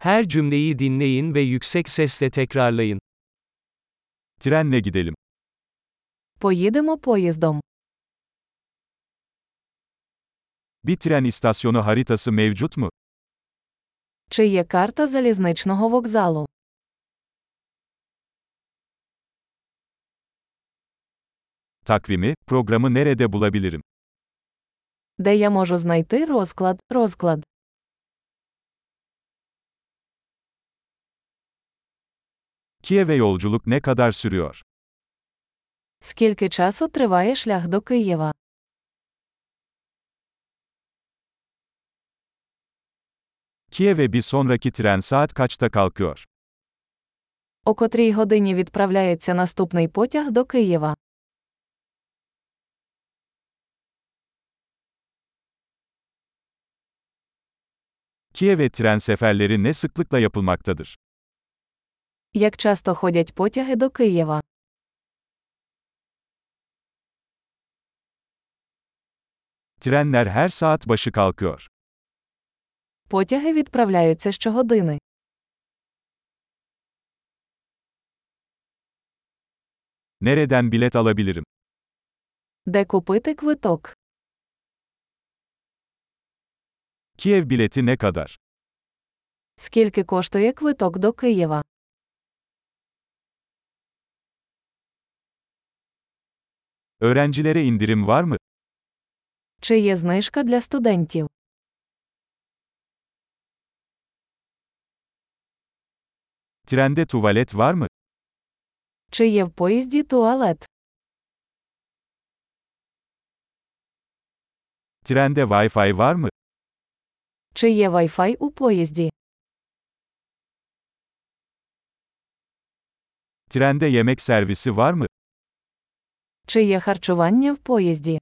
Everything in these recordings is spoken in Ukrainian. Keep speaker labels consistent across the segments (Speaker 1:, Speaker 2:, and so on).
Speaker 1: Her cümleyi dinleyin ve yüksek sesle tekrarlayın.
Speaker 2: Trenle gidelim.
Speaker 3: Поїдемо поїздом.
Speaker 2: Bir tren istasyonu haritası mevcut mu?
Speaker 3: Чи є карта залізничного вокзалу?
Speaker 2: Takvimi, programı nerede bulabilirim?
Speaker 3: Де я можу знайти розклад, розклад?
Speaker 2: Kiev'e yolculuk ne kadar sürüyor?
Speaker 3: Скільки часу триває шлях до Києва?
Speaker 2: Kiev'e bir sonraki tren saat kaçta kalkıyor?
Speaker 3: О котрій годині відправляється наступний потяг до Києва?
Speaker 2: Kiev'e tren seferleri ne sıklıkla yapılmaktadır?
Speaker 3: Як часто ходять потяги до Києва?
Speaker 2: Trenler her saat başı kalkıyor.
Speaker 3: Потяги відправляються щогодини.
Speaker 2: Nereden bilet alabilirim?
Speaker 3: Де купити квиток?
Speaker 2: Kiev bileti ne kadar?
Speaker 3: Скільки коштує квиток до Києва?
Speaker 2: Öğrencilere indirim var mı?
Speaker 3: Чи є знижка для студентів?
Speaker 2: Trende tuvalet var mı?
Speaker 3: Чи є в поїзді туалет?
Speaker 2: Trende Wi-Fi var mı?
Speaker 3: Чи є Wi-Fi у поїзді?
Speaker 2: Trende yemek servisi var mı?
Speaker 3: Чи є харчування в поїзді?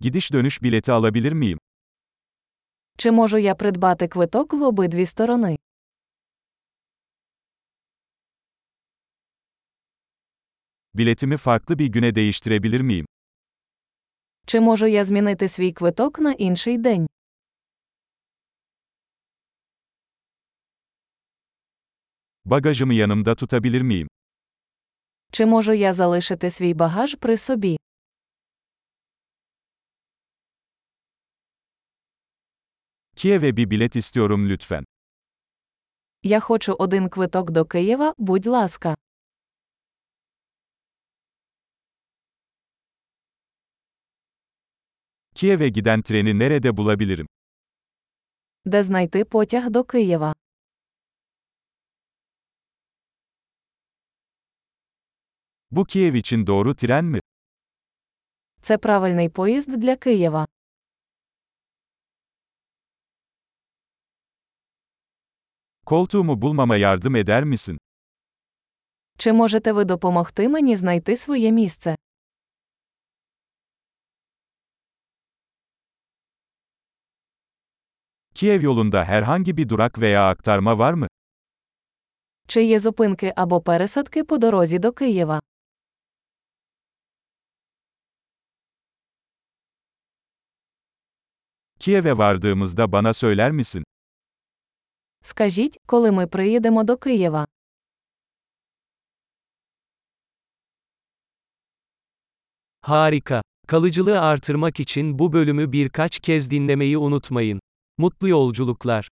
Speaker 2: Gidiş dönüş bileti alabilir miyim?
Speaker 3: Чи можу я придбати квиток в обидві сторони?
Speaker 2: Biletimi farklı bir güne değiştirebilir miyim?
Speaker 3: Чи можу я змінити свій квиток на інший день?
Speaker 2: Bagajımı yanımda tutabilir miyim?
Speaker 3: Чи можу я залишити свій багаж при собі?
Speaker 2: Kiev'e bir bilet istiyorum lütfen.
Speaker 3: Я хочу один квиток до Києва, будь ласка.
Speaker 2: Kiev'e giden treni nerede bulabilirim?
Speaker 3: Де знайти потяг до Києва?
Speaker 2: Bu Kiev için doğru tren mi?
Speaker 3: Це правильний поїзд для Києва.
Speaker 2: Koltuğumu bulmama yardım eder misin?
Speaker 3: Чи можете ви допомогти мені знайти своє місце?
Speaker 2: Kiev yolunda herhangi bir durak veya aktarma var mı?
Speaker 3: Чи є зупинки або пересадки по дорозі до Києва?
Speaker 2: Kiev'e vardığımızda bana söyler misin?
Speaker 3: Скажіть, коли ми приїдемо до Києва?
Speaker 1: Harika. Kalıcılığı artırmak için bu bölümü birkaç kez dinlemeyi unutmayın. Mutlu yolculuklar.